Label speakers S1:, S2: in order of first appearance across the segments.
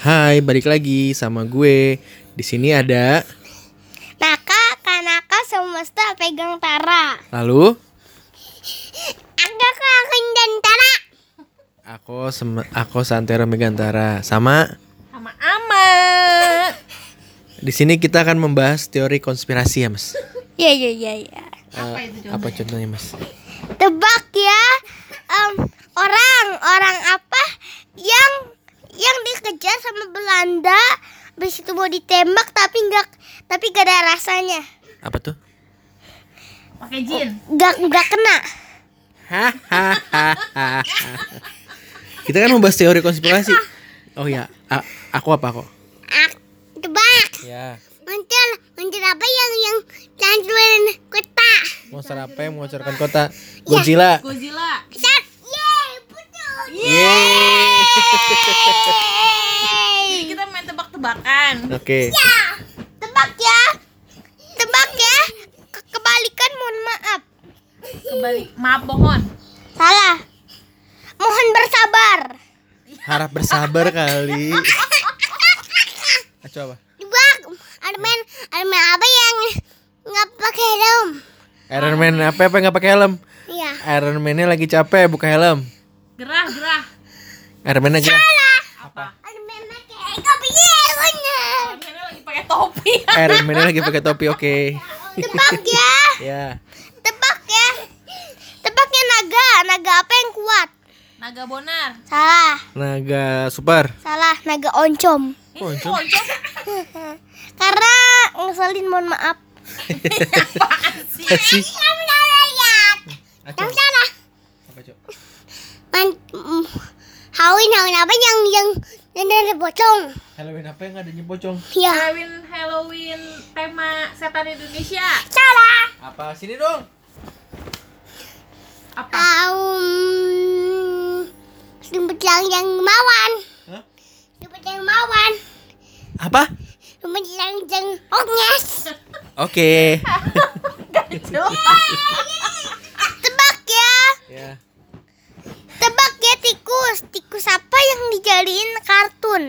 S1: Hai, balik lagi sama gue. Di sini ada
S2: Naka, kanaka, semesta, pegang tara.
S1: lalu
S2: Ada kakin dan tara.
S1: aku sem- aku Santero Megantara sama
S3: sama ama
S1: di sini kita akan membahas teori konspirasi ya, Mas.
S2: Ya, ya, ya, ya.
S1: Apa itu Apa contohnya, Mas?
S2: Tebak ya, em, orang, orang apa yang yang dikejar sama Belanda, habis itu mau ditembak tapi nggak tapi gak ada rasanya,
S1: Apa tuh?
S3: pakai jin
S2: nggak nggak kena.
S1: Hahaha. kita kan membahas teori konspirasi. Oh ya, a- aku apa kok?
S2: Ah, tebak,
S1: Ya,
S2: muncul muncul apa yang yang cancurin kota?
S1: monster apa yang menghancurkan kota? Godzilla.
S3: Oh, Godzilla
S2: Set, yeay, betul.
S1: Yeay.
S2: Yeay.
S3: kita main tebak-tebakan
S1: Oke.
S2: Tebak ya. Tebak ya. Ke- kebalikan mohon maaf.
S3: kembali maaf bohon
S2: Salah. Mohon bersabar.
S1: Harap bersabar kali. Ah, Coba.
S2: Tebak. Ada main ada main apa yang nggak pakai helm?
S1: Iron Man apa apa nggak pakai helm?
S2: Iya.
S1: Iron Man-nya lagi capek buka helm.
S3: gerah gerah
S1: Iron Man aja.
S3: apa
S2: Ada main pakai Iya, kopi helmnya.
S3: Kalian lagi pakai topi
S1: Iron Man-nya lagi pakai topi oke.
S2: Tebak ya.
S1: Ya.
S2: Tebak ya. Tebaknya naga. Naga apa yang kuat?
S3: naga bonar
S2: Salah.
S1: Naga super.
S2: Salah. Naga oncom.
S3: ini oncom
S2: Karena ngeselin mohon maaf.
S3: apaan sih
S1: Eh, Sih.
S2: Kamu salah ya.
S1: Ah,
S2: Kamu
S1: Cok.
S2: salah.
S1: Apa, Cok?
S2: Man, mm, Hawin Hawin apa yang yang yang dari pocong?
S1: Halloween apa yang nggak ada nyebocong?
S2: Ya.
S3: Halloween Halloween tema setan Indonesia
S2: Salah.
S1: Apa sini dong?
S3: apa
S2: Um, rumput yang yang mawan.
S1: Hah?
S2: Rumput yang mawan.
S1: Apa?
S2: Rumput yang yang onyes.
S1: Oke.
S2: Tebak ya.
S1: Ya.
S2: Tebak ya tikus. Tikus apa yang dijadiin kartun?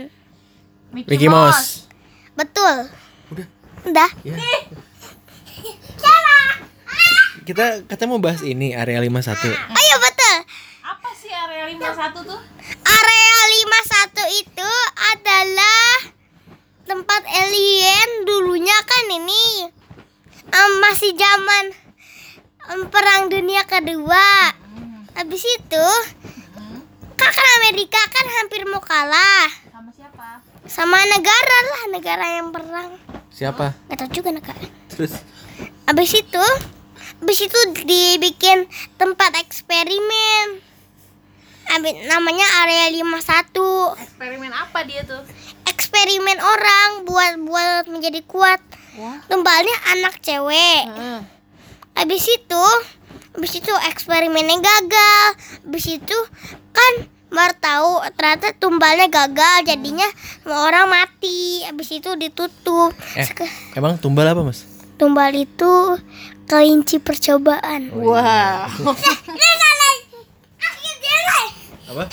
S1: Mickey Mouse.
S2: Betul.
S1: Udah.
S2: Udah.
S1: Ya.
S2: Salah.
S1: Kita katanya mau bahas ini area 51.
S2: Oh iya betul.
S3: apa sih area 51 tuh
S2: Area 51 itu adalah tempat alien dulunya kan ini em, masih zaman em, perang dunia kedua. Habis itu kan kan Amerika kan hampir mau kalah
S3: sama siapa
S2: sama negara lah negara yang perang.
S1: Siapa?
S2: Gak tau juga negara.
S1: Terus
S2: Habis itu habis itu dibikin tempat eksperimen. Habis namanya area 51.
S3: eksperimen apa dia tuh
S2: eksperimen orang buat buat menjadi kuat.
S3: Wah.
S2: Tumbalnya anak cewek. Habis itu, habis itu eksperimennya gagal. Habis itu kan baru tahu ternyata tumbalnya gagal,
S3: Hmm.
S2: jadinya semua orang mati. Habis itu ditutup.
S1: eh
S2: Sek-
S1: emang tumbal apa, Mas?
S2: Tumbal itu kelinci percobaan.
S3: Oh. wah
S1: Apa?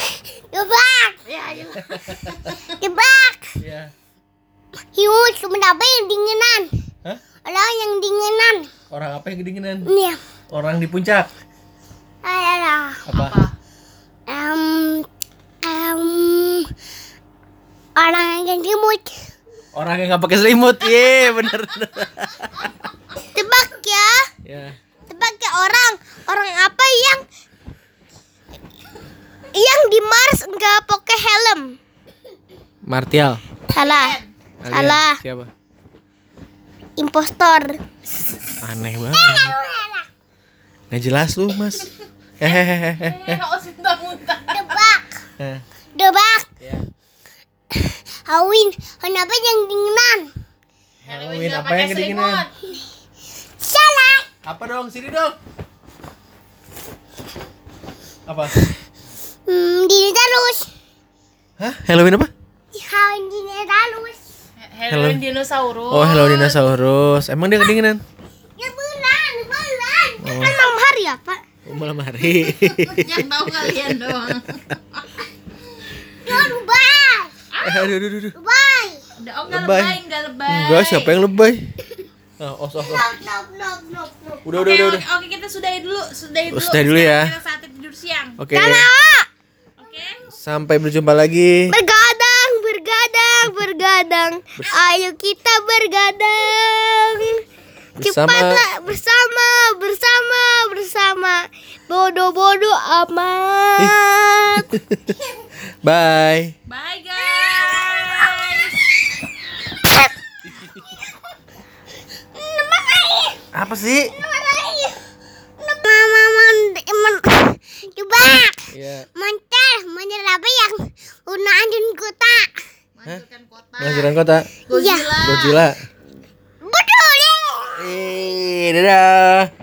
S2: Gebak,
S3: ya iyalah.
S2: gebak.
S1: Iya.
S2: Hius, kenapa yang dinginan?
S1: Hah?
S2: Orang yang dinginan.
S1: Orang apa yang kedinginan?
S2: Nih.
S1: Orang di puncak.
S2: Ayolah.
S3: apa
S2: Em, em, orang yang imut
S1: Orang yang nggak pakai selimut. Ye, bener.
S2: tebak ya
S1: Ya.
S2: tebak ya orang orang apa yang yang di Mars nggak pakai helm
S1: Martial.
S2: salah
S1: Alien.
S2: salah
S1: Siapa?
S2: impostor
S1: Aneh banget. Nggak jelas lu, Mas. Hehehe.
S3: Eh, haus muntah-muntah
S2: tebak tebak
S1: Ya.
S2: Hawin kenapa yang dinginan
S1: Halloween apa
S3: Pakai
S1: yang kedinginan?
S3: selimut.
S2: salah
S1: Apa dong? Sini dong. Apa?
S2: hmm, dingin terus
S1: Hah? Halloween apa?
S2: Hawin dingin terus
S3: Halloween dinosaurus.
S1: Oh, Halloween dinosaurus. Emang dia kedinginan?
S2: ya bulan bulan kan malam hari ya pak
S1: Oh, Malam hari.
S3: Yang tahu kalian doang.
S2: Aduh, Bang.
S1: Eh, aduh, aduh, aduh.
S2: Bye.
S3: Udah, oh nggak
S1: Lebay.
S3: lebay, nggak lebay.
S1: Enggak, siapa yang lebay? Ah, os, os, os.
S2: Nope, nope, nope, nope, nope.
S1: Udah, udah,
S3: Oke,
S1: udah,
S3: oke,
S1: udah.
S3: oke, kita sudahi dulu, sudahi dulu.
S1: Sudahi dulu ya.
S3: Sekarang Kita saatnya tidur siang.
S1: Oke.
S3: Oke.
S1: Sampai berjumpa lagi.
S2: Bergadang, bergadang, bergadang. Ayo kita bergadang.
S1: Bersama-
S2: Cepatlah bersama, bersama, bersama. Bodoh-bodoh amat.
S1: Bye.
S3: Bye guys.
S1: Apa sih?
S2: Mama mon- mon- coba
S1: Iya.
S2: monter menyerabai yang una anjun kota.
S3: Menghancurkan kota.
S1: Pelajaran kota.
S2: Iya.
S3: Godzilla.
S1: Godzilla.
S2: Betul. ya.
S1: Eh, dadah.